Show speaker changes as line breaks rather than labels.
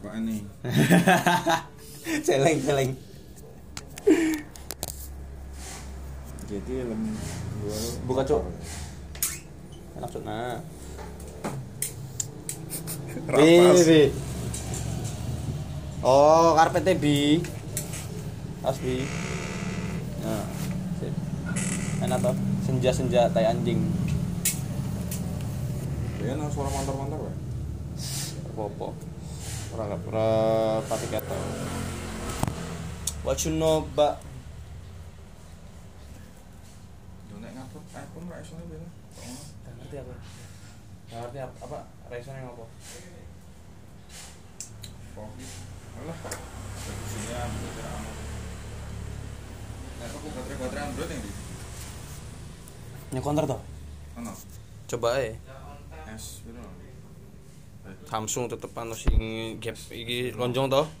apaan nih
celeng celeng
jadi lem gua
buka cok enak cok nah Bi,
rapas
bi. oh karpetnya bi harus bi nah sip. enak Bab. senja senja tai anjing
ya nah, suara motor motor kan
popo orang orang pati kata what you know about
Nek ngapot iPhone ra iso biasa. Kok ngono?
Gak ngerti aku Gak ngerti apa, apa yang apa
Kopi. Alah. Dari sini ya, bener amat. Nek aku baterai-baterai Android yang di
Ini counter toh?
Ono.
Coba aja
S piro?
Samsung tetep anu sing gap iki lonjong toh